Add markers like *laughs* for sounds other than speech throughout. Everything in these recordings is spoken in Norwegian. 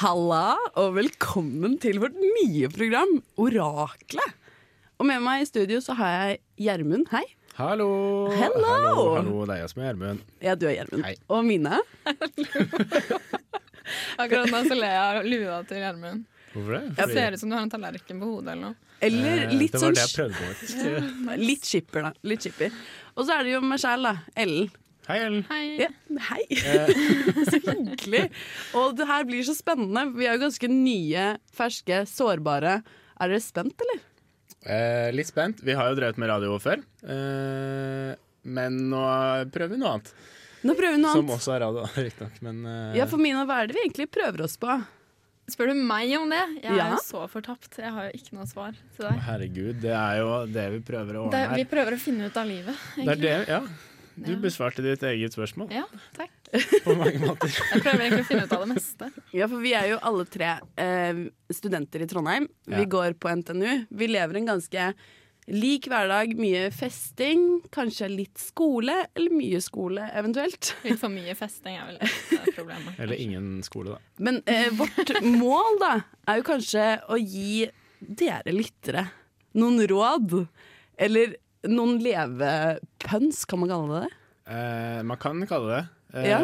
Halla, og velkommen til vårt nye program, Oraklet. Og med meg i studio så har jeg Gjermund. Hei. Hallo! Hello! Hallo, hallo, det er jeg som er Gjermund. Ja, du er Gjermund. Hei. Og Mine. Akkurat nå så ler jeg av lua til Gjermund. Hvorfor det? Det Fordi- ser ut som du har en tallerken på hodet eller noe. Eller Eh, litt det var sånn det jeg prøvde på. faktisk. Litt chipper, da. Litt chipper. Og så er det jo meg sjæl, da. Ellen. Hei, Ellen. Hei. Ja, hei. Eh. *laughs* så hyggelig. Og det her blir så spennende. Vi er jo ganske nye, ferske, sårbare. Er dere spent, eller? Eh, litt spent. Vi har jo drevet med radio før. Eh, men nå prøver vi noe annet. Nå prøver vi noe Som annet. også er radio, *laughs* riktignok. Men eh, Ja, for Mina, hva er det vi egentlig prøver oss på? Spør du meg om det? Jeg er Ja. jo så fortapt. Jeg har jo ikke noe svar til å, deg. herregud, det er jo det vi prøver å Det, ordne her. vi prøver å finne ut av livet, Det er egentlig. det, ja. Du besvarte ditt eget spørsmål Ja, takk. på mange måter. Jeg prøver egentlig å finne ut av det meste. Ja, for vi er jo alle tre eh, studenter i Trondheim. Vi Ja. går på NTNU. Vi lever en ganske lik hverdag. Mye festing, kanskje litt skole, eller mye skole eventuelt. Litt for mye festing er vel et av *laughs* problemet. Eller ingen skole, da. Men eh, vårt *laughs* mål da, er jo kanskje å gi dere lyttere noen råd. Eller noen levepønsk, kan man kalle det det? Eh, man kan kalle det. Eh, Ja.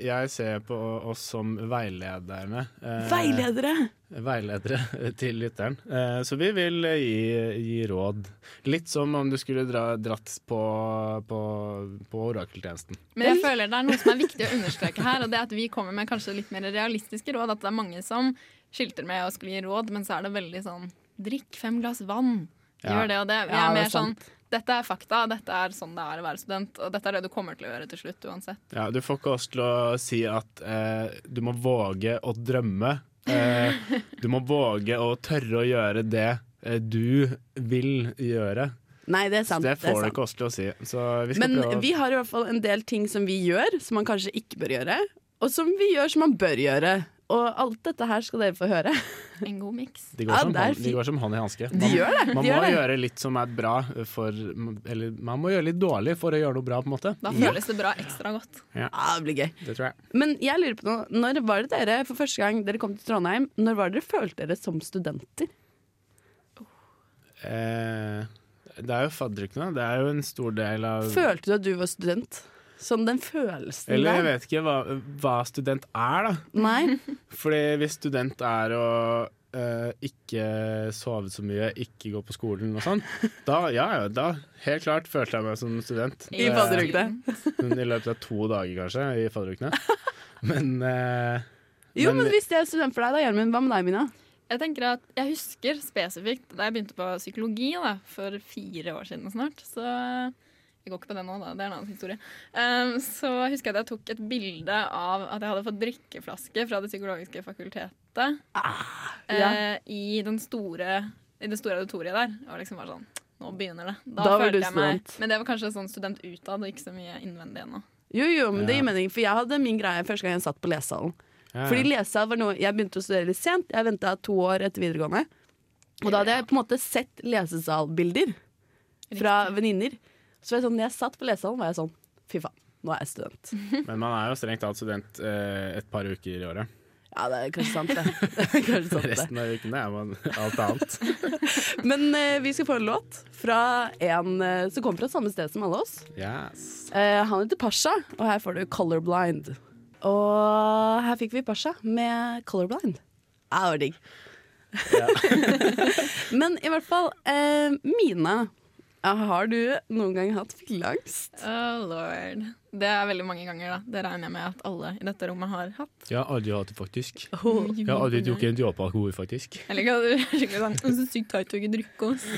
Jeg ser på oss som veilederne. eh, Veiledere! veiledere *laughs* til lytteren. Eh, Så vi vil eh, gi, gi råd. Litt som om du skulle dra, dratt på, på, på orakeltjenesten. Men jeg føler det er noe som er viktig å understreke her, og det er at vi kommer med kanskje litt mer realistiske råd. At det er mange som skilter med å skulle gi råd, men så er det veldig sånn drikk fem glass vann. Ja. Gjør det og det. Vi er Ja, det er mer sånn dette er fakta, dette er sånn det er å være student, og dette er det du kommer til å gjøre til slutt uansett. Ja, du får ikke oss til å si at eh, du må våge å drømme. *laughs* Eh, du må våge å tørre å gjøre det eh, du vil gjøre. Nei, det er Så sant. det er får du sant. ikke oss til å si. Så vi skal Men prøve å vi har i hvert fall en del ting som vi gjør, som man kanskje ikke bør gjøre, og som vi gjør som man bør gjøre. Og alt dette her skal dere få høre. En god miks. De går, Ja, som, det er hånd, de fint. går som hånd i hanske. *laughs* De gjør det. de Man må gjør det. gjøre litt som er bra, for, eller man må gjøre litt dårlig for å gjøre noe bra, på en måte. Da føles det bra ekstra godt. Ja, det blir gøy. Det tror jeg. Men jeg lurer på noe. Når var det dere for første gang dere kom til Trondheim, når var det dere følte dere som studenter? Eh, det er jo fadderukene. Det er jo en stor del av Følte du at du var student? Sånn den følelsen Eller jeg der? vet ikke hva, hva student er, da. Nei? Fordi hvis student er å eh, ikke sove så mye, ikke gå på skolen og sånn, *laughs* da, ja, ja, da helt klart følte jeg meg som student. eh, I fadderukene. Men I løpet av to dager, kanskje, i *laughs* fadderukene. Men eh, Jo, Men- men hvis det er student for deg, da, Gjermund. Hva med deg, Mina? Jeg tenker at jeg husker spesifikt da jeg begynte på psykologi da, for fire år siden snart. Så jeg går ikke på det nå, da. Det er en annen historie. Ehm, så husker jeg at jeg tok et bilde av at jeg hadde fått drikkeflaske fra Det psykologiske fakultetet ja. eh, i, den store, i det store auditoriet der. Og liksom var sånn Nå begynner det. Da, Da var du følte jeg meg- student. Men det var kanskje sånn student utad og ikke så mye innvendig ennå. Jo, jo, men det Ja. gir mening, for jeg hadde min greie første gang jeg satt på lesesalen. ja, ja. Fordi lesesal var noe Jeg begynte å studere litt sent. Jeg venta to år etter videregående. Og da hadde jeg på en måte sett lesesalbilder fra venninner. Så var jeg sånn, når jeg satt på lesesalen, var jeg sånn Fy faen, nå er jeg student. Men man er jo strengt tatt student eh, et par uker i året. Ja, det er kanskje sant, det. *laughs* det, er kanskje sant, Sånn det. Resten av ukene er man alt annet. *laughs* Men eh, vi skal få en låt fra en eh, som kommer fra samme sted som alle oss. Yes. Eh, han heter Pasha, og her får du Colorblind. Og her fikk vi Pasha med Colorblind. Ja, det var digg. *laughs* Men i hvert fall, eh, Mina, har du noen gang hatt fylleangst? Oh lord. Det er veldig mange ganger, da. Det regner jeg med at alle i dette rommet har hatt. Jeg har aldri hatt det, faktisk. Oh, Jeg har aldri drukket en dråpe alkohol, faktisk. Eller ikke, du er skikkelig sånn «Å, Så sykt tight å ikke drikke oss.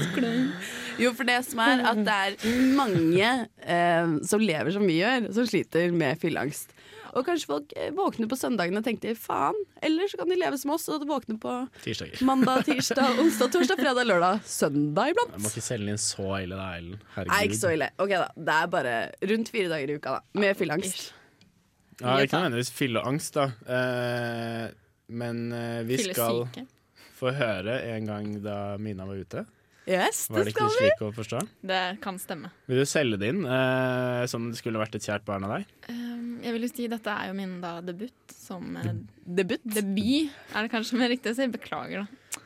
Jo, for det som er at det er mange eh, som lever som vi gjør, som sliter med fylleangst. Og kanskje folk eh, våkner på søndagene og tenker faen, eller så kan de leve som oss og våkne på Tirsdager. mandag, tirsdag, onsdag, torsdag, fredag, lørdag, søndag Jeg må iblant. ikke selge inn så ille, da, Ellen. Herregud. Ah, Nei, ikke så ille. Ok da, Det er bare rundt fire dager i uka da med fylleangst. Ja, ikke nødvendigvis fylleangst, da. Eh, men eh, vi skal Fyllesyke. få høre en gang da Mina var ute. Yes, Var det det ikke skal vi. slik å forstå? Det kan stemme. Vil du selge det inn eh, som det skulle vært et kjært barn av deg? Um, jeg vil jo si dette er jo min da debut som eh, Debut. Debut er det kanskje mer riktig å si. Beklager, da.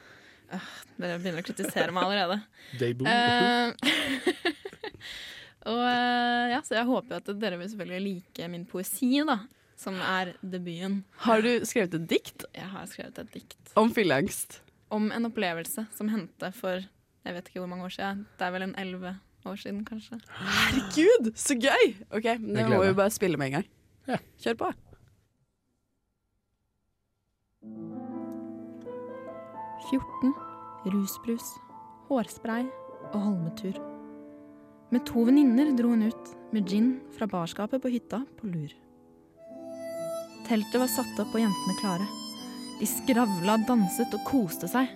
Øh, Dere begynner å kritisere meg allerede. *laughs* Debut. Eh, Ehm, *laughs* og eh, ja, så jeg håper jo at dere vil selvfølgelig like min poesi, da. Som er debuten. Har du skrevet et dikt Jeg har skrevet et dikt om fylleangst? om en opplevelse som hendte for jeg vet ikke hvor mange år siden. Det er vel en elleve år siden, kanskje. Herregud, så gøy! Ok, men Det Jeg gleder må vi meg. bare spille med en gang. Ja. Kjør på. rusbrus, hårspray og holmetur. Med to venninner dro hun ut med gin fra barskapet på hytta på lur. Teltet var satt opp og jentene klare. De skravla, danset og koste seg,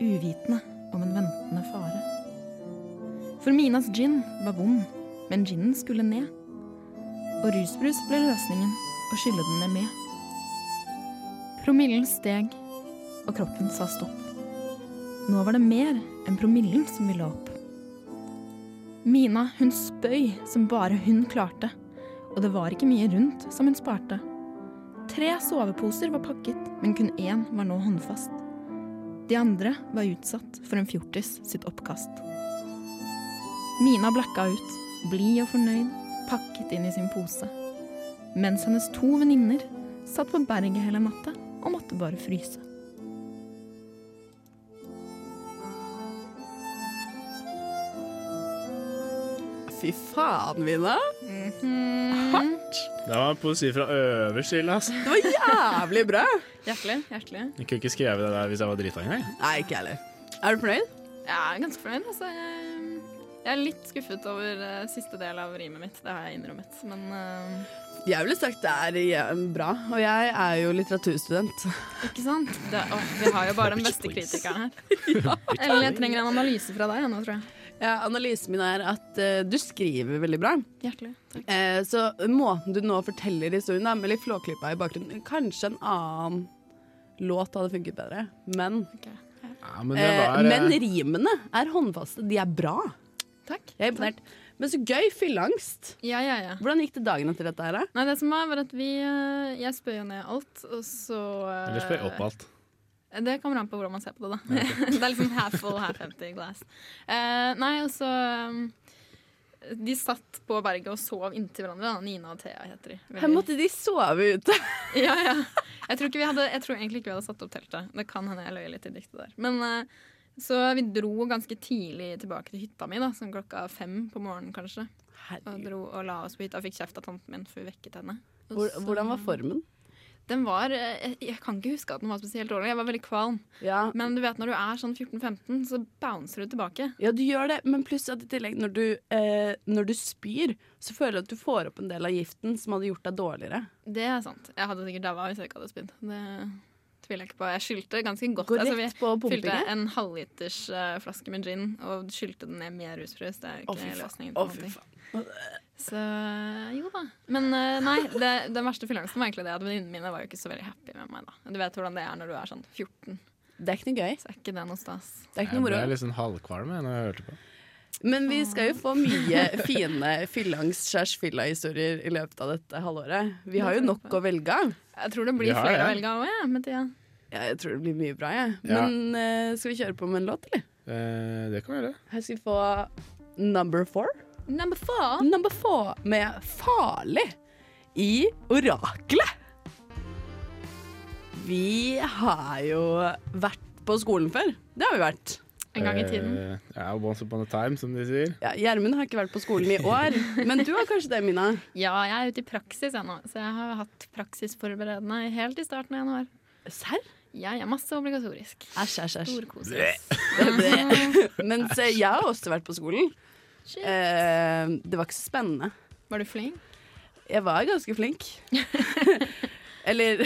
uvitende om en ventende fare. For Minas gin var vond, men ginen skulle ned. Og rusbrus ble løsningen å skylle den ned med. Promillen steg, og kroppen sa stopp. Nå var det mer enn promillen som ville opp. Mina, hun spøy som bare hun klarte, og det var ikke mye rundt som hun sparte. Tre soveposer var pakket, men kun én var nå håndfast. De andre var utsatt for en fjortis sitt oppkast. Mina blakka ut, blid og fornøyd, pakket inn i sin pose. Mens hennes to venninner satt på berget hele natta og måtte bare fryse. Fy faen, Mina. Hardt. Det var poesi fra øverste hylle, altså. Det var jævlig bra. Hjertelig. hjertelig. Jeg kunne ikke skrevet det der hvis jeg var drita engang. Nei, ikke jeg heller. Er du fornøyd? Jeg er ganske fornøyd. Altså. Jeg, jeg er litt skuffet over eh, siste del av rimet mitt. Det har jeg innrømmet. Men eh, Jeg ville sagt det er jævlig bra, og jeg er jo litteraturstudent. ikke sant? Det, åh, vi har jo bare den beste *laughs* kritikeren her. Eller jeg trenger en analyse fra deg nå, tror jeg. Ja, analysen min er at eh, du skriver veldig bra. Hjertelig. Takk. Eh, så måten du nå forteller historien da, med litt flåklippa i bakgrunnen Kanskje en annen låt hadde funket bedre. Men, Ok. Ja, men det eh, var eh, men rimene er håndfaste. De er bra. Takk. Jeg er imponert. Men så gøy! Fylleangst. Ja, ja, ja. Hvordan gikk det dagen etter dette her, da? Nei, det som var, var at vi eh, Jeg spøy jo ned alt, og så eh, Eller spør jeg opp alt. Det kommer an på hvordan man ser på det, da. *laughs* det er liksom half full, half empty glass. Eh, nei, og så um, De satt på berget og sov inntil hverandre. Da. Nina og Thea heter de. Veldig- Her måtte de sove ute. ja, ja. Jeg, tror ikke vi hadde, jeg tror egentlig ikke vi hadde satt opp teltet. Det kan hende jeg løy litt i diktet der. Men eh, så vi dro ganske tidlig tilbake til hytta mi, da, sånn klokka fem på morgenen kanskje. Og Herregud. dro og la oss på hytta. Fikk kjeft av tanten min, for vi vekket henne. Og Hvor, så- hvordan var formen? Den var eh, jeg, jeg kan ikke huske at den var spesielt dårlig. Jeg var veldig kvalm. Ja. Men du vet når du er sånn 14-15, så bouncer du tilbake. ja, du gjør det, men pluss at i tillegg, når du, eh, når du spyr, så føler du at du får opp en del av giften som hadde gjort deg dårligere. Det er sant. Jeg hadde sikkert daua hvis jeg ikke hadde spydd. Det tviler jeg ikke på. Jeg skyldte ganske godt. Går Altså, rett på vi fylte pumpingen. en halvliters eh, flaske med gin og skylte den ned med rusbrus. Det er jo Å, fy ikke faen. løsningen. Å, på noen fy ting. faen. Så jo da. Men eh, nei, det, den verste fylleangsten var egentlig det at venninnene mine var jo ikke så veldig happy med meg. da. Du vet hvordan det er når du er sånn 14. Det er ikke noe gøy. Så er ikke det noe stas. Det er ikke Jeg noe ble moro. litt sånn halvkvalm jeg, når jeg hørte på. Men vi skal jo få mye *laughs* fine fylleangst-slash-fylla-historier i løpet av dette halvåret. Vi har jo nok å velge av. Jeg tror det Vi blir har flere det. å velge av òg, jeg, med tida. Ja, jeg tror det blir mye bra, jeg. Ja. Men eh, skal vi kjøre på med en låt, eller? Eh, det kan vi gjøre. Her skal vi få Number Four. Number four. Number Four med Farlig i Oraklet. Vi har jo vært på skolen før. Det har vi vært. En gang i tiden. Eh, ja, once upon a time, som de sier. Ja, Gjermund har ikke vært på skolen i år, *laughs* men du har kanskje det, Mina? Ja, jeg er ute i praksis jeg nå, så jeg har hatt praksisforberedende helt i starten av januar. Serr? Jeg er masse obligatorisk. Æsj, æsj, æsj. Storkoses. Mens eh, jeg har også vært på skolen. Shit. Eh, det var ikke så spennende. Var du flink? Jeg var ganske flink. *laughs* Eller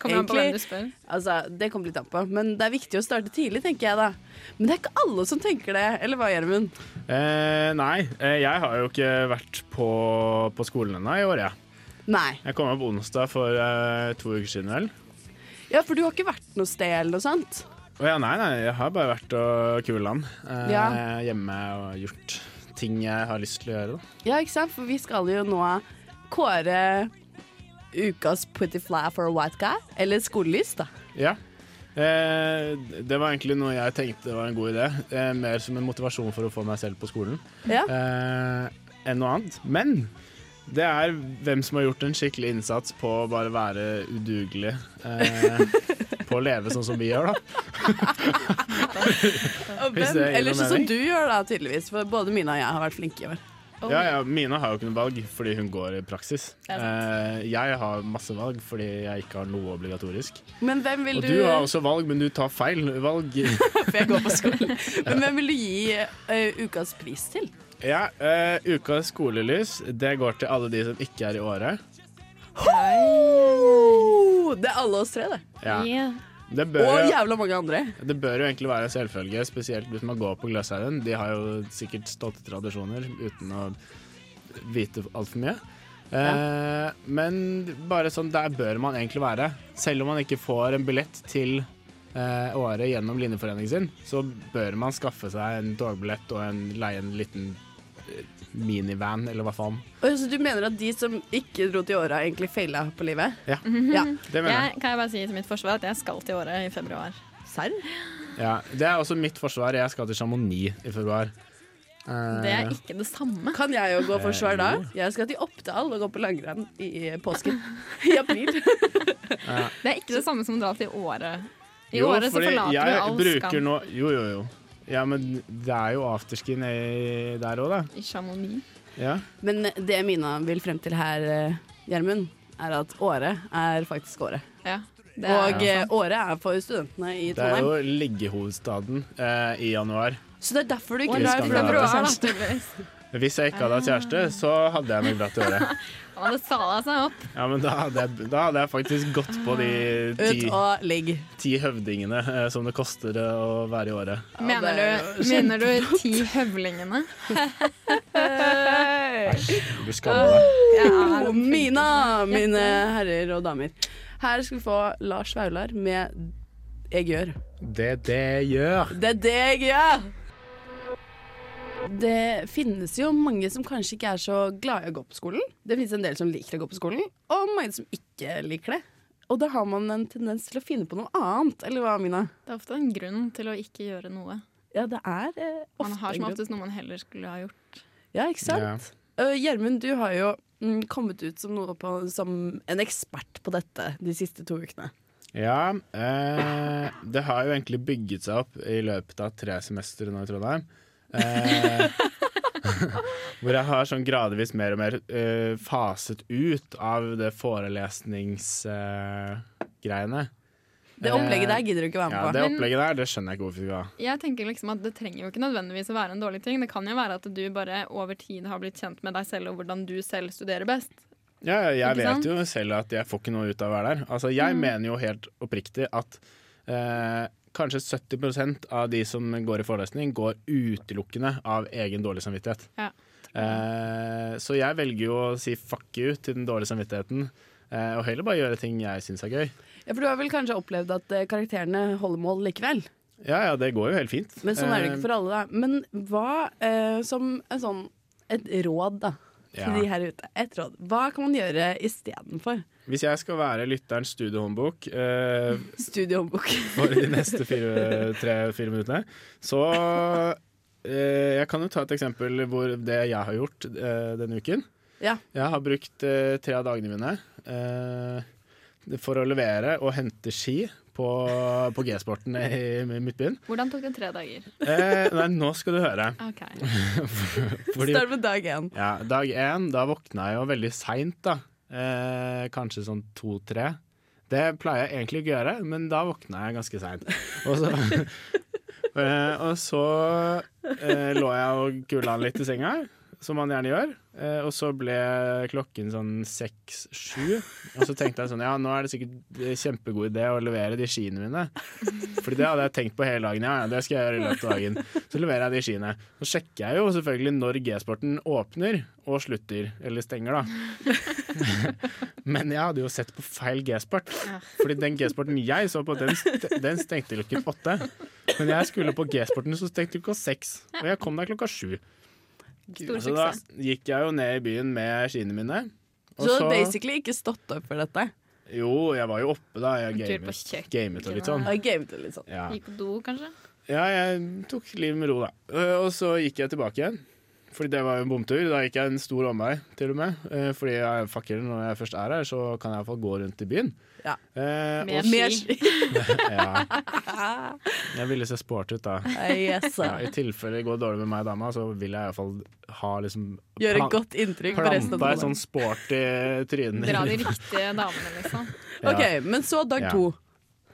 Kommer an på hvem Egentlig- du spør. altså, Det kommer litt an på. Men det er viktig å starte tidlig, tenker jeg da. Men det er ikke alle som tenker det. Eller hva, Gjermund? Eh, nei, eh, jeg har jo ikke vært på, på skolen ennå i år, jeg. Nei. Jeg kom opp onsdag for eh, to uker siden, vel. Ja, for du har ikke vært noe sted eller noe sånt? Å ja, nei, nei, jeg har bare vært og kula den eh, Ja. hjemme og gjort ting jeg har lyst til å gjøre. Da. Ja, ikke sant? For vi skal jo nå kåre ukas pretty fly for a white guy. Eller skolelys, da. Ja. Eh, det var egentlig noe jeg tenkte var en god idé. Eh, mer som en motivasjon for å få meg selv på skolen Ja. eh, enn noe annet. Men det er hvem som har gjort en skikkelig innsats på å bare være udugelig. Eh, på å leve sånn som vi gjør, da. Og Hvis hvem, det gir eller noe sånn som mening. du gjør, da, tydeligvis. For både Mina og jeg har vært flinke i år. Ja, ja, Mina har jo ikke noe valg fordi hun går i praksis. Det er Eh, jeg har masse valg fordi jeg ikke har noe obligatorisk. Men hvem vil Og du, du har også valg, men du tar feil *laughs* valg. For jeg går på skolen. Men hvem vil du gi eh, ukas pris til? Ja, eh, Ukas skolelys det går til alle de som ikke er i året. Ho! Det er alle oss tre, det. Ja. Yeah. Det, Og bør jo, jævla mange andre. det bør jo egentlig være en selvfølge, spesielt hvis man går på Gløshaugen. De har jo sikkert stolte tradisjoner uten å vite altfor mye. Eh, Men bare sånn, der bør man egentlig være. Selv om man ikke får en billett til eh, året gjennom linjeforeningen sin, så bør man skaffe seg en togbillett og en, leie en liten eh, minivan, eller hva faen. Oi, så du mener at de som ikke dro til åra, egentlig feila på livet? Ja, Ja. Mhm. det mener jeg. Jeg, kan jeg bare si til mitt forsvar at jeg skal til året i februar. Serr? Ja, det er også mitt forsvar. Jeg skal til Chamonix i februar. Eh, Det er ikke det samme. Kan jeg jo gå Eh, forsvar da? jo. Jeg skal til Oppdal og gå på langrenn i eh, påsken. I april. *laughs* Det er ikke det samme som å dra til året. I jo, året så fordi forlater jeg du all bruker skam Nå, jo, jo, jo. Ja, men det er jo afterski nedi der òg, da. i Chamonix. Ja. Men det Mina vil frem til her, eh, Gjermund, er at året er faktisk året. Ja. Det er, Og eh, året er for studentene i Det er Trondheim. jo liggehovedstaden eh, i januar. Så det er derfor du og ikke Det i drar skal i vi ha. februar. februar, da. *laughs* da. tydeligvis. Hvis jeg ikke hadde hatt Ah. kjæreste, så hadde jeg nok dratt i året. Han hadde sala seg opp. Ja, men da hadde jeg, da hadde jeg faktisk gått på de Ut ti, og ligg. ti høvdingene eh, som det koster å være i året. Ja, Mener det er du, jo mener du ti *laughs* høvlingene? Du skammer deg. *laughs* Jeg er- Mina, *laughs* mine herrer og damer. Her skal vi få Lars Vaular med 'Jeg gjør'. Det det gjør. Det er det jeg gjør! Det finnes jo mange som kanskje ikke er så glad i å gå på skolen. Det finnes en del som liker å gå på skolen, og mange som ikke liker det. Og da har man en tendens til å finne på noe annet, eller hva, Mina? Det er ofte en grunn til å ikke gjøre noe. Ja, det er eh, ofte Man en har som grunn. oftest noe man heller skulle ha gjort. Ja, ikke sant? Eh, Gjermund, du har jo mm, kommet ut som, noe på, som en ekspert på dette de siste to ukene. Ja, eh, det har jo egentlig bygget seg opp i løpet av tre semestre nå i Trondheim. Eh, *laughs* hvor jeg har sånn gradvis mer og mer eh, faset ut av det forelesningsgreiene. Eh, greiene. Det Eh, opplegget der gidder du ikke være med ja, på. det Men- opplegget der, det skjønner jeg ikke hvorfor vi skal ha. Jeg tenker liksom at Det trenger jo ikke nødvendigvis å være en dårlig ting. Det kan jo være at du bare over tid har blitt kjent med deg selv og hvordan du selv studerer best. Ja, ja, jeg Ikke sant? vet jo Mm. selv at jeg får ikke noe ut av å være der. Altså, jeg mener jo helt oppriktig at eh, kanskje 70 av de som går i forelesning, går utelukkende av egen dårlig samvittighet. Ja, Eh, så jeg velger jo å si fuck you til den dårlige samvittigheten, eh, og heller bare gjøre ting jeg syns er gøy. Ja, for du har vel kanskje opplevd at eh, karakterene holder mål likevel? Ja ja, det går jo helt fint. Men sånn er det Eh, ikke for alle, da. Men hva eh, som en sånn, et råd, da, til Eh, Ja. de her ute. Et råd. Hva kan man gjøre istedenfor Hvis jeg skal være lytterens studiehåndbok eh, studiehåndbok? *laughs* for de neste fire- tre-fire minuttene. Så eh, jeg kan jo ta et eksempel hvor det jeg har gjort eh, denne uken. Ja. Jeg har brukt eh, tre av dagene mine eh, for å levere og hente ski på, på G-sporten i, i Midtbyen. Hvordan tok det tre dager? Eh, nei, nå skal du høre. Ok. Fordi, Start med dag én. ja, dag én, da våkna jeg jo veldig seint, da. Eh, kanskje sånn to-tre. Det pleier jeg egentlig ikke å gjøre, men da våkna jeg ganske seint. Og så, *laughs* eh, og så eh, lå jeg og kula litt i senga. som man gjerne gjør. Eh, og så ble klokken sånn seks-sju. Og så tenkte jeg sånn, ja, nå er det sikkert eh, kjempegod idé å levere de skiene mine. Fordi det hadde jeg tenkt på hele dagen. Ja, ja, det skal jeg gjøre i løpet av dagen. Så leverer jeg de skiene. Så sjekker jeg jo selvfølgelig når G-sporten åpner og slutter, eller stenger, da. *laughs* Men jeg hadde jo sett på feil G-sport. Fordi den G-sporten jeg så på, den, st den stengte klokken åtte. Men jeg skulle på G-sporten, så stengte klokka seks. Og jeg kom der klokka sju. Stor altså, Så da suksess. gikk jeg jo ned i byen med skiene mine. Så du har basically ikke stått opp for dette. Jo, jeg var jo oppe, da. Jeg En tur på gamet, kjøkkenet. gamet og litt sånn. Og jeg gamet det litt sånn. Ja. Gikk på do, kanskje? Ja, jeg tok livet med ro, da. Eh, Og så gikk jeg tilbake igjen. Fordi det var jo en bomtur. Da gikk jeg en stor omvei, til og med. Eh, Fordi jeg fucker det når jeg først er her, så kan jeg iallfall gå rundt i byen. Ja. Eh, Med og, ski. Mer ski. *laughs* *laughs* ja. Jeg ville se sport ut, da. Yes, Ja, sir. I tilfall det går dårlig med meg og dama, så vil jeg iallfall ha liksom Gjøre plan- godt inntrykk på resten Planta av et sånn dagen. sporty tryne. *laughs* Dra *laughs* de riktige damene, liksom. Ja. Ok, men så dag Ja. to. *laughs*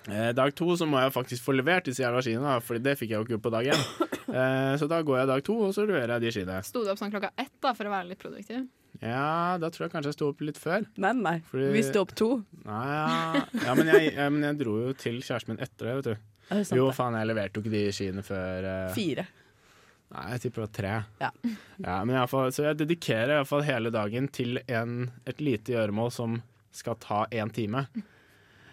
Eh, dag to så må jeg faktisk få levert disse jævla skiene, da, Fordi det fikk jeg jo ikke gjort på dag én. *coughs* Eh, så da går jeg dag to, og så leverer jeg de skiene. Sto du opp sånn klokka ett da, for å være litt produktiv? Ja, da tror jeg kanskje jeg sto opp litt før. Nei, nei. Fordi- Vi sto opp to. Nei, ja. ja, men jeg, ja, men jeg dro jo til kjæresten min etter det, vet du. Er det sant, Jo, det? faen, jeg leverte jo ikke de skiene før eh, Fire. Nei, jeg tipper det var tre. Ja. Ja, men i alle fall, så jeg dedikerer i alle fall hele dagen til en, et lite gjøremål som skal ta én time.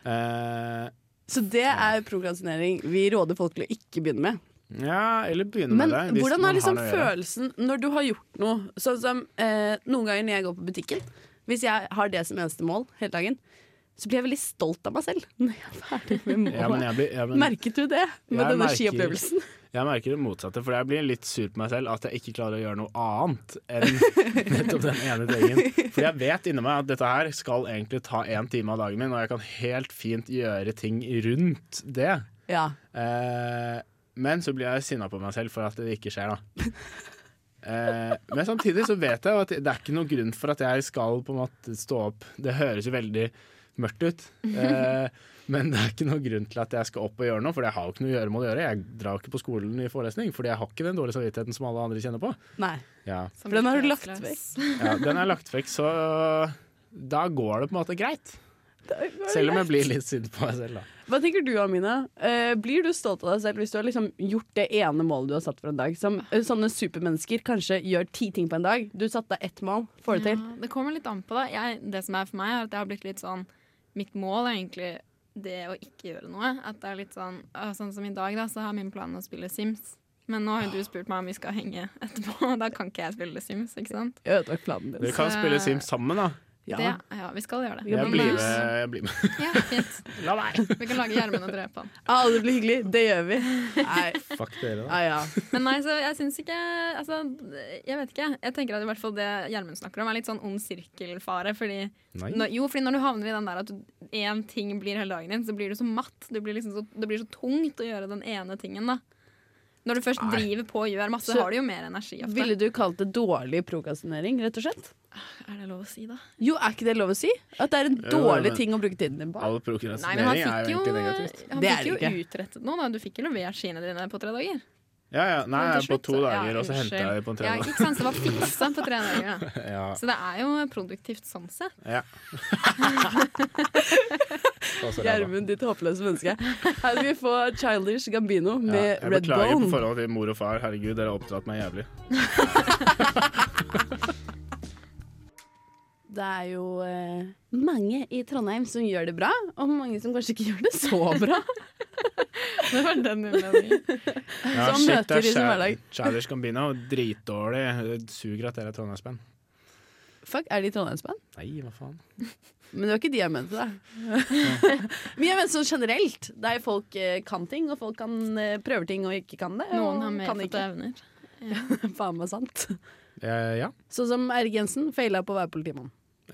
Eh, Så det er prokrastinering vi råder folk til å ikke begynne med. ja, eller begynne Men med det. hvis hvordan man er liksom har noe å gjøre. følelsen når du har gjort noe? Sånn som eh, Noen ganger når jeg går på butikken, hvis jeg har det som eneste mål hele dagen, så blir jeg veldig stolt av meg selv *laughs* når jeg er ferdig med målet. Ja, men jeg, blir- ja, men Merket du det med Jeg denne merker- skiopplevelsen? jeg merker det motsatte, for jeg blir litt sur på meg selv at jeg ikke klarer å gjøre noe annet enn nettopp den ene tingen. For jeg vet inni meg at dette her skal egentlig ta én time av dagen min, og jeg kan helt fint gjøre ting rundt det. *laughs* Ja. Eh, men så blir jeg sinna på meg selv for at det ikke skjer, da. Eh, men samtidig så vet jeg jo at det er ikke noen grunn for at jeg skal på en måte stå opp. Det høres jo veldig mørkt ut, eh, men det er ikke noen grunn til at jeg skal opp og gjøre noe, for jeg har jo ikke noe gjøremål å gjøre. Jeg drar jo ikke på skolen i forelesning, fordi jeg har ikke den dårlige samvittigheten som alle andre kjenner på. Nei. Ja, Som For den har du litt lagt vekk. rastløs. ja Den er lagt vekk, så da går det på en måte greit. Selv om jeg blir litt sint på meg selv, da. Hva tenker du Amina? Eh, blir du stolt av deg selv hvis du har liksom gjort det ene målet du har satt for en dag? Som eh, sånne supermennesker kanskje gjør ti ting på en dag. Du satte deg ett mål, får det til. Ja, det kommer litt an på det. Jeg, det som er for meg, er at jeg har blitt litt sånn Mitt mål er egentlig det å ikke gjøre noe. At det er litt sånn «Å, Sånn som i dag, da, så har min plan å spille Sims. Men nå har jo du spurt meg om vi skal henge etterpå, *laughs* og da kan ikke jeg spille Sims, ikke sant? Jeg ødela planen din. Dere kan Så- spille Sims sammen, da. Ja. Det, ja, vi skal gjøre det. Ja, Jeg men- blir med. Jeg blir med. *laughs* Ja, fint. La meg! Vi kan lage Gjermund og drepe han. Ah, det blir hyggelig. Det gjør vi. Nei, Fuck dere, da. ah, ja. Men nei, så jeg syns ikke Altså, jeg vet ikke. Jeg tenker at i hvert fall det Gjermund snakker om, er litt sånn ond sirkelfare. Fordi Nei. når, jo, fordi når du havner i den der at du- én ting blir hele dagen din, så blir du så matt. Du blir liksom så, det blir så tungt å gjøre den ene tingen, da. Når du først Nei. driver på og gjør masse, Så- har du jo mer energi ofte. *laughs* Ville du kalt det dårlig prokrastinering, rett og slett? Er det lov å si, da? Jo, er ikke det lov å si? At det er en Jo, dårlig men- ting å bruke tiden din på? All Nei, men han prokrastinering er jo fikk jo, egentlig negativt. han Det er fikk jo det ikke. utrettet noe, da. Du fikk jo levert skiene dine på tre dager. Ja, ja. Nei, Men til på slutt to så- dager, ja, og så henter unnskyld. jeg det på en Ja, tredje. ikke sant, så det var fiksa på tre dager, da. *laughs* Ja. Så det er jo produktivt sånn sett. ja. Passer det, da. Gjermund, ditt håpløse menneske. Her skal vi få Childish Gambino Ja, med jeg Red beklager på Bone. forhold til mor og far. Herregud, dere har oppdratt meg *laughs* jævlig. Det er jo eh, mange i Trondheim som gjør det bra, og mange som kanskje ikke gjør det så bra. Det var den innledningen. Ja, han møter det er de som Chad- hverdag. Childish Gambino. Dritdårlig. Det Suger at dere er trondheimsband. *laughs* Fuck, er de trondheimsband? Nei, hva faen. Men det var ikke de jeg mente, *laughs* da. Men jeg mener sånn generelt. Der folk eh, kan ting, og folk kan eh, prøver ting og ikke kan det. Noen og har mer kan fått ikke. evner. *laughs* Faen meg sant. Eh, ja. Sånn som Erik Jensen faila på å være politimann. *laughs*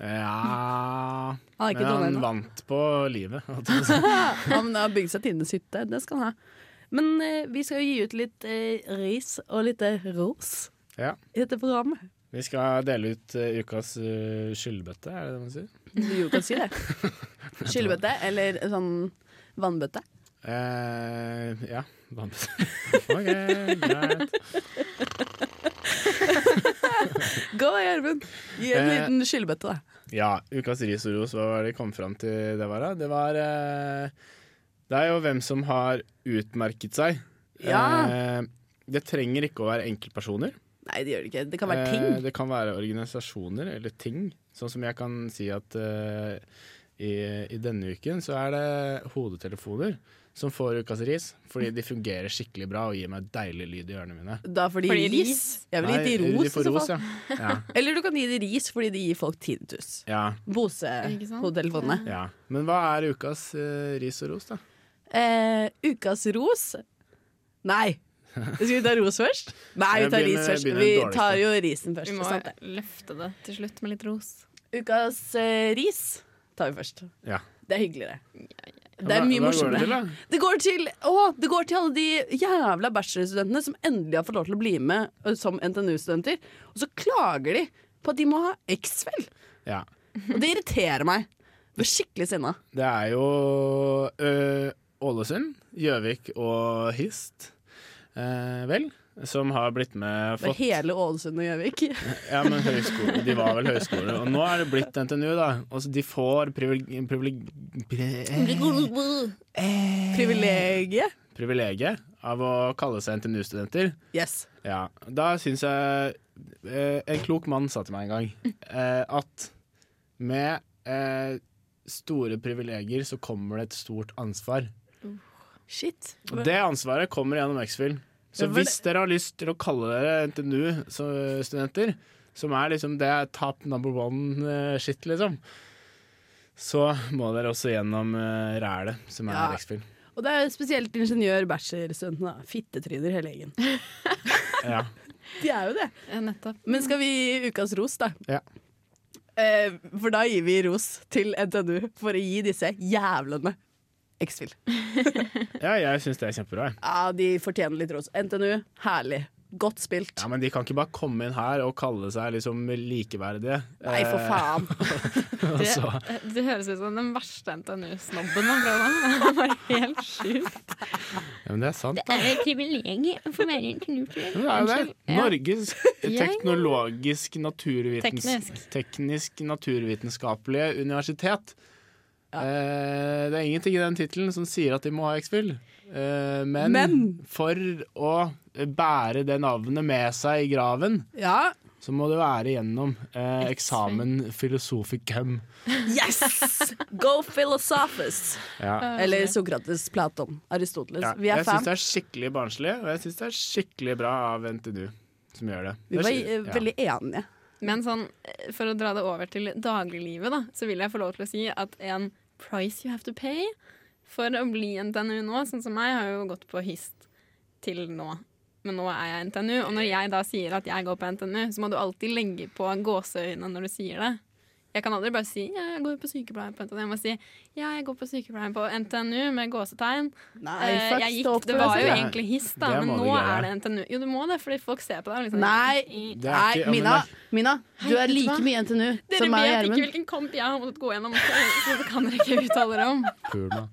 Han er ja. Men ikke han trondheim, da. vant på livet. *laughs* Han har bygd seg Tines hytte. Det skal han ha. Men eh, vi skal jo gi ut litt eh, ris og litt eh, ros Ja. i dette programmet. Vi skal dele ut eh, ukas eh, skyllbøtte, er det det man sier? Jo, kan si det. *laughs* Skyllebøtte eller sånn vannbøtte. Eh, ja. *laughs* Vant. OK, greit. Gå deg, Gjermund! Gi en Eh. liten skyllebøtte, da. Ja, ukas ris og ros, hva var det de kom fram til det var da? Det var eh, Det er jo hvem som har utmerket seg. Ja. Eh, det trenger ikke å være enkeltpersoner. Nei, det gjør det ikke. Det kan være Eh, ting. det kan være organisasjoner eller ting. Sånn som jeg kan si at eh, i, i denne uken så er det hodetelefoner som får ukas ris, fordi de fungerer skikkelig bra og gir meg deilig lyd i ørene mine. Da får de Fordi ris. ris- Jeg vil gi de Nei, ros, de i får så ros, fall. ja. ja. Eller du kan gi de ris fordi de gir folk tinnitus. ja. Ikke sant? Bose-hodetelefonene. Ja. Men hva er ukas eh, ris og ros, da? Eh, ukas ros Nei. Skal vi ta ros først? Nei, vi Jeg tar begynner- ris først. begynner Vi dårligst, tar da. jo risen først. Vi må Sant det? løfte det til slutt med litt ros. Ukas eh, ris tar vi først. Ja. Det er hyggeligere. Det er Hva- mye hva går det til, morsommere. da? Det går til, å, det går til alle de jævla bachelorstudentene som endelig har fått lov til å bli med eh, som NTNU-studenter, og så klager de på at de må ha X-Fel. Ja. Og det irriterer meg. Jeg blir skikkelig sinna. Det er jo ø, Ålesund, Gjøvik og Hist, eh, vel, som har blitt med Det er fått hele Ålesund og Gjøvik. *laughs* Ja, men høyskole, De var vel høyskole. Og nå er det blitt NTNU, da. Altså, de får privil... privil, Eh, pri- Privilegiet. privilegiet av å kalle seg NTNU-studenter. Yes. Ja, da syns jeg eh, En klok mann sa til meg en gang eh, at med eh, store privilegier så kommer det et stort ansvar. Shit. Og det ansvaret kommer gjennom X-Fill. Så Ja, for hvis dere har lyst til å kalle dere NTNU-studenter, eh, som er liksom det er top number one-shit, liksom, så må dere også gjennom eh, rælet, som er Ja. X-Fill. Og det er spesielt ingeniør-bachelorstudentene. da. Fittetryner hele gjengen. Ja. De er jo det. Eh, *laughs* Nettopp. Men skal vi gi ukas ros, da? Ja. Eh, for da gir vi ros til NTNU for å gi disse jævlene X-Fil. ja, jeg syns det er kjempebra. jeg. Ja, de fortjener litt ros. NTNU, herlig. Godt spilt. Ja, Men de kan ikke bare komme inn her og kalle seg liksom likeverdige. Nei, Eh. for faen. *laughs* Det, eh, det høres ut som den verste NTNU-snobben man *laughs* prøver. Det var helt sjukt. Ja, men det er sant. Det er et privilegium for meg. Ja, Det er jo det. Norges ja. teknologisk naturvitens... Teknisk. teknisk naturvitenskapelige universitet. Eh, det er ingenting i den tittelen som sier at de må ha X-Fill. Eh, men, Men- for å bære det navnet med seg i graven, Ja. så må det være gjennom eh, eksamen philosophicum. Yes! Go Philosophus! Ja. Eller Sokrates, Platon, Aristoteles. Ja. Altså, Vi er Jeg syns fan. det er skikkelig barnslig, og jeg syns det er skikkelig bra av NTNU som gjør det. Vi Det var er eh, skik- ja. veldig enige. Men sånn, eh, for å dra det over til dagliglivet, da, så vil jeg få lov til å si at en price you have to pay for å bli NTNU nå, sånn som meg, har jo gått på hyst til nå. Men nå er jeg NTNU, og når jeg da sier at jeg går på NTNU, så må du alltid legge på gåseøynene når du sier det. Jeg kan aldri bare si ja, 'jeg går på sykepleien på NTNU'. Jeg må si 'ja, jeg går på sykepleien på NTNU' med gåsetegn. Nei, Eh, fuck, jeg stå opp gikk, det for var deg jo selv. egentlig hiss, da, Det men må du nå greie. er det NTNU. Jo, du må det, fordi folk ser på deg. og Liksom. Nei, Det er nei ikke- ja, men Mina, det- Mina, du Hei, er vet du like hva? mye NTNU Dere som meg og vet ikke Gjermund. hvilken kamp jeg har måttet gå gjennom, så så det kan dere ikke uttale dere om. Pul meg.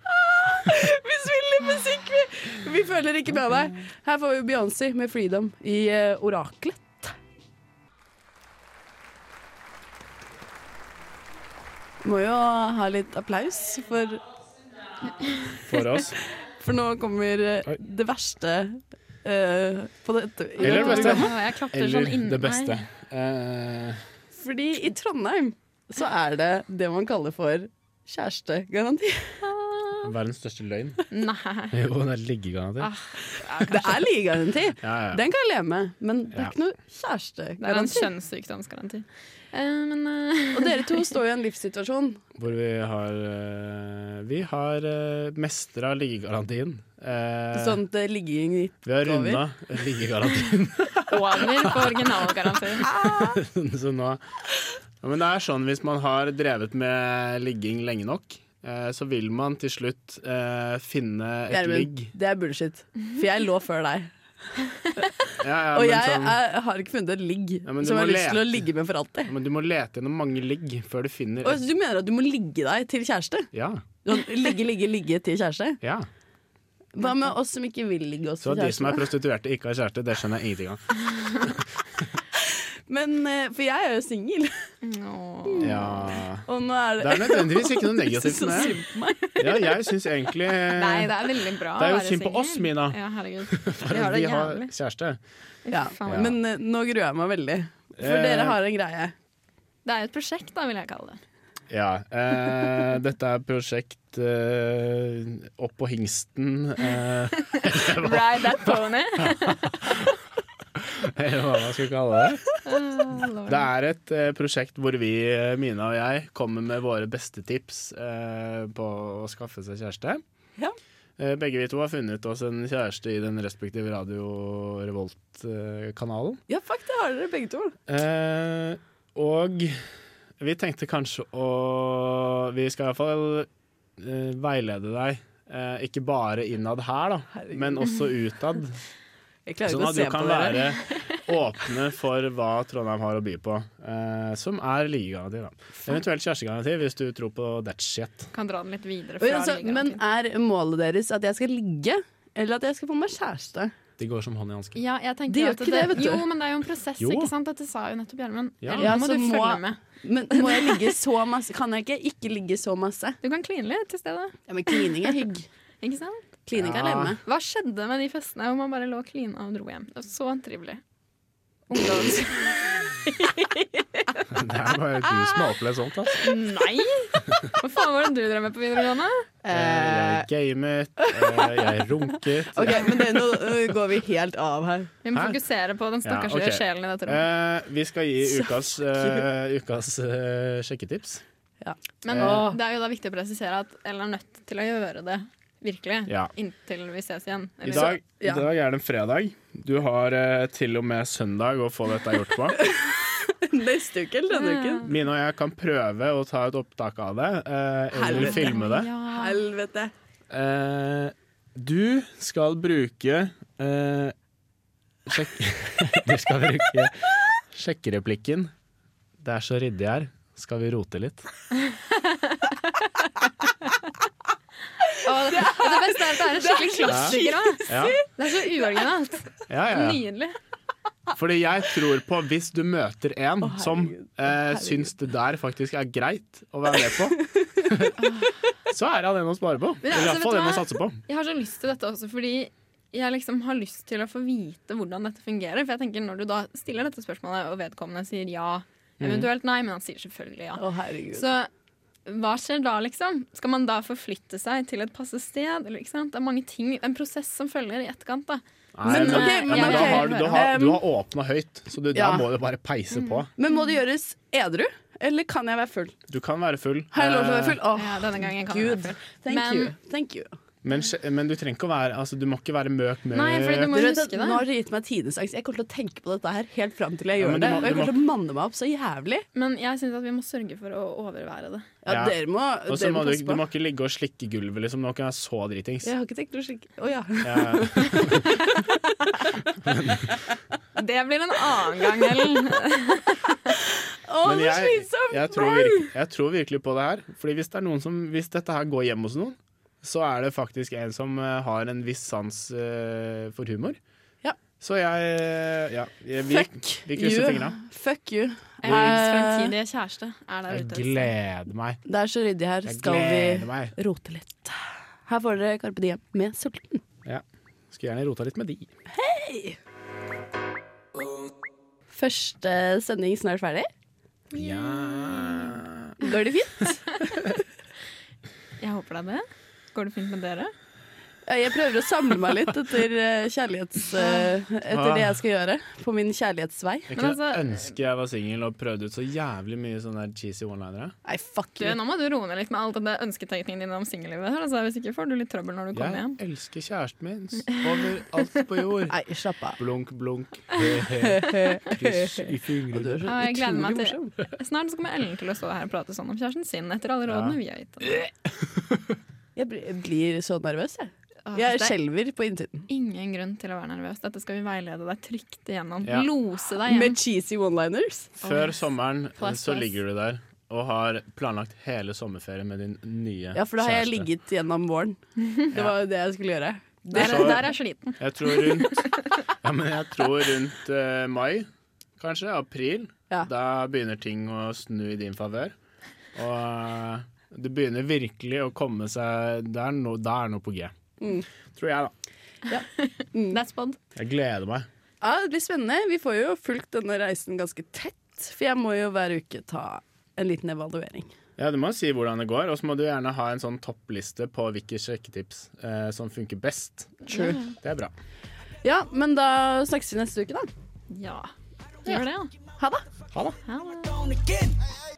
Vi spiller musikk, vi! Vi føler ikke med deg. Her får vi Beyoncé med 'Freedom' i eh, Oraklet. Må jo ha litt applaus, for, For *laughs* oss. for nå kommer eh, Oi. det verste eh, på dette. i *laughs* Eller dette det beste. programmet. Åh, Jeg klapper sånn Eller inn- det beste. Nei. Eh, Fordi i Trondheim så er det det man kaller for kjærestegaranti. verdens største *laughs* løgn. Nei. Jo, det er liggegaranti. Ah, Det er ligegaranti. Ja, ja. Den kan jeg leve med, men det er Ja. ikke noe Det er en kjærestegaranti. kjønnssykdomsgaranti. Eh, men *laughs* eh, Og dere to står jo i en livssituasjon. Hvor vi har eh, Vi har uh, mestra liggegarantien. Eh, Sånn at det ligger i vi har går vi? runda liggegarantien, *laughs* over på originalgaranti. så nå ja, Men det er sånn hvis man har drevet med ligging lenge nok, eh, så vil man til slutt eh, finne et Gjermund, ligg. det er bullshit. For jeg lå før deg. Ja, ja, Og men jeg sånn- er, har ikke funnet et ligg Ja, men du som jeg må har lyst til å lete. ligge med for alltid. ja, men du må lete gjennom mange ligg før du finner Og et Du mener at du må ligge deg til kjæreste? Ja. Sånn, Ligge, ligge, ligge til kjæreste? ja. Hva med oss som ikke vil ligge oss Så til at de som kjæreste? *laughs* er prostituerte, ikke har kjæreste, det skjønner jeg ingenting av. da? Men, eh, for jeg er jo singel, *laughs* Åh. Ja. og nå er det Det er nødvendigvis *laughs* ikke noe negativt Så med det. synd på meg. Ja, jeg syns egentlig Nei, det er veldig bra Det er jo å være synd på singel. oss, Mina. Ja, herregud. Vi Bare har eh, vi det har jævlig. kjæreste. Ja. Faen. Ja. Men eh, nå gruer jeg meg veldig. For Eh. dere har en greie. Det er jo et prosjekt, da, vil jeg kalle det. Ja. Eh, dette er prosjekt eh, Opp på hingsten, eh, *laughs* Ride that pony. eller hva man skal kalle det. Åh, Ah, lord. Det er et eh, prosjekt hvor vi, eh, Mina og jeg, kommer med våre beste tips eh, på å skaffe seg kjæreste. Ja. Eh, begge vi to har funnet oss en kjæreste i den respektive Radio Revolt-kanalen. Ja, fuck, det har dere begge to. Eh, og vi tenkte kanskje å Vi skal iallfall uh, veilede deg. eh, ikke bare innad her, da, Herregud. men også utad. Jeg klarer Sånn ikke å at du se på kan dere. være *laughs* åpne for hva Trondheim har å by på. eh, som er ligegaranti, da. Eventuelt kjærestegaranti, hvis du tror på that shit. Kan dra den litt videre. Oi, Fra altså, ligaen men til- er målet deres at jeg skal ligge, eller at jeg skal få meg kjæreste? De går som hånd i *laughs* hanske. ja, jeg tenker Det gjør at ikke det, vet du. Jo, men det er jo en prosess, Jo. ikke sant? Dette sa jo nettopp Gjermund. Ja. Eller Ja, Nå må så du må- følge med. Men må jeg ligge så masse? Kan jeg ikke ikke ligge så masse? Du kan kline litt i stedet. Ja, men klining er hygg. Ikke sant? Klining er Ja. lemme. Hva skjedde med de festene hvor man bare lå og klina og dro hjem? Det var så trivelig. Ungdoms... Det er bare du som har opplevd sånt, altså. Nei! Hva faen var det du drev med på videregående? Eh, jeg gamet, eh, jeg runket. Eh. *laughs* Ok, men det, nå øh, går vi helt av her. Vi må Hæ? fokusere på den stakkars Ja, ok. sjelen i dette rommet. Eh, vi skal gi *laughs* ukas, eh, ukas eh, sjekketips. Men eh. det er jo da viktig å presisere at Ellen er nødt til å gjøre det virkelig. Ja. Inntil vi ses igjen. I Eller- dag, ja. I dag er det en fredag. Du har eh, til og med søndag å få dette gjort *laughs* på. *laughs* Neste uke eller denne uken? Mine og jeg kan prøve å ta et opptak av det, eh, eller Helvete. filme det. Ja. Helvete. Eh, du skal bruke eh, sjekk, *laughs* Du skal bruke sjekkereplikken. Det er så ryddig her. Skal vi rote litt? Og det, og det beste er at det er en skikkelig klassiker også. Ja, Det er så uoriginalt. ja, ja, ja. Nydelig. Fordi jeg tror på hvis du møter en herregud. som Å, eh, herregud. syns det der faktisk er greit å være *laughs* med på, så er han en å spare på. Men Eller altså, vet iallfall du en å hva? satse på. Jeg har så lyst til dette også fordi jeg liksom har lyst til å få vite hvordan dette fungerer. For jeg tenker når du da stiller dette spørsmålet, og vedkommende sier ja, Mm. eventuelt nei, men han sier selvfølgelig ja. herregud. Så hva skjer da, liksom? Skal man da forflytte seg til et passe sted? Eller, ikke sant? Det er mange ting, en prosess som følger i etterkant, da. Nei, Men, men, ok, ja, men men da ok. har du, du har, du Um, har åpna høyt, så du, ja. der må du bare peise på. Men må det gjøres edru, eller kan jeg være full? Du kan være full. Har jeg lov til å være eh, full? Åh, Ja, denne gangen kan jeg Gud. være full. Thank Men- you. Thank you. Men, sj- men du trenger ikke å være altså, Du må ikke være møk møk. Nei, fordi du må Du vet huske at det. Nå har dere gitt meg tidenes angst. Jeg kommer til å tenke på dette her helt fram til jeg Ja, gjør men du det. må- Og jeg du må- kommer til å manne meg opp så jævlig. Men jeg syns at vi må sørge for å overvære det. Ja, Ja. dere må, Og så dere må må du, passe du på. må ikke ligge og slikke gulvet, liksom. Du må ikke være så dritings. Jeg har ikke tenkt noe slik Å *laughs* ja. Eh, *laughs* Det blir en annen gang, *laughs* Ellen. *laughs* Å, så Men jeg, slitsomt! jeg, tror virk, jeg tror virkelig på det her. Fordi hvis, det er noen som, hvis dette her går hjem hos noen, så er det faktisk en som eh, har en viss sans eh, for humor. Ja. Så jeg eh, Ja. jeg- Vi, Fuck vi you. krysser fingra. Fuck you. Ellens Eh, fremtidige kjæreste er der Jeg ute. gleder meg. Det er så ryddig her. Jeg altså. Skal gleder vi meg. rote litt? Her får dere Carpe Diem med Sulten. Ja. Skulle gjerne rota litt med de. Første sending snart ferdig. Ja. Går det fint? Jeg håper det er det. Går det fint med dere? Jeg prøver å samle meg litt etter eh, kjærlighets... eh, Etter det jeg skal gjøre på min kjærlighetsvei. Jeg Men kunne altså- ønske jeg var singel og prøvde ut så jævlig mye sånne der cheesy one-linere. Nei, fuck Du, you. nå må du roe ned litt med all denne ønsketenkningen din om singellivet. her, Altså, hvis ikke får du litt trøbbel når du kommer Jeg hjem. elsker kjæresten min overalt på *laughs* jord. Nei, slapp av. Blunk, blunk. Kyss i Og du fingrene. er så Ja, jeg gleder meg utrolig til- morsom. *laughs* Snart så kommer Ellen til å stå her og prate sånn om kjæresten sin etter alle rådene vi har gitt. henne. Jeg blir- jeg blir så nervøs, jeg. Åh, Jeg det er skjelver på innsiden. ingen grunn til å være nervøs. Dette skal vi veilede deg trygt igjennom. Ja. Lose deg Med hjem. cheesy one-liners. Før sommeren Plus, så plus. ligger du der og har planlagt hele sommerferien med din nye Ja, for da har jeg kjæreste. ligget gjennom våren. Det var jo det jeg skulle gjøre. Der, Så- der er jeg sliten. *laughs* Jeg tror rundt, ja, men jeg tror rundt eh, mai kanskje. April. Ja. Da begynner ting å snu i din favør. Og eh, det begynner virkelig å komme seg Det er noe, det er noe på G. Mm. Tror jeg, da. That's bond. Jeg gleder meg. Ja, det blir spennende. Vi får jo fulgt denne reisen ganske tett, for jeg må jo hver uke ta en liten evaluering. Ja, Du må si hvordan det går, og så må du gjerne ha en sånn toppliste på hvilke sjekketips eh, som funker best. True. Det er bra. Ja, men da snakkes vi neste uke, da. Ja. Gjør det, da. Ha det. Ha det. Ha det. on again.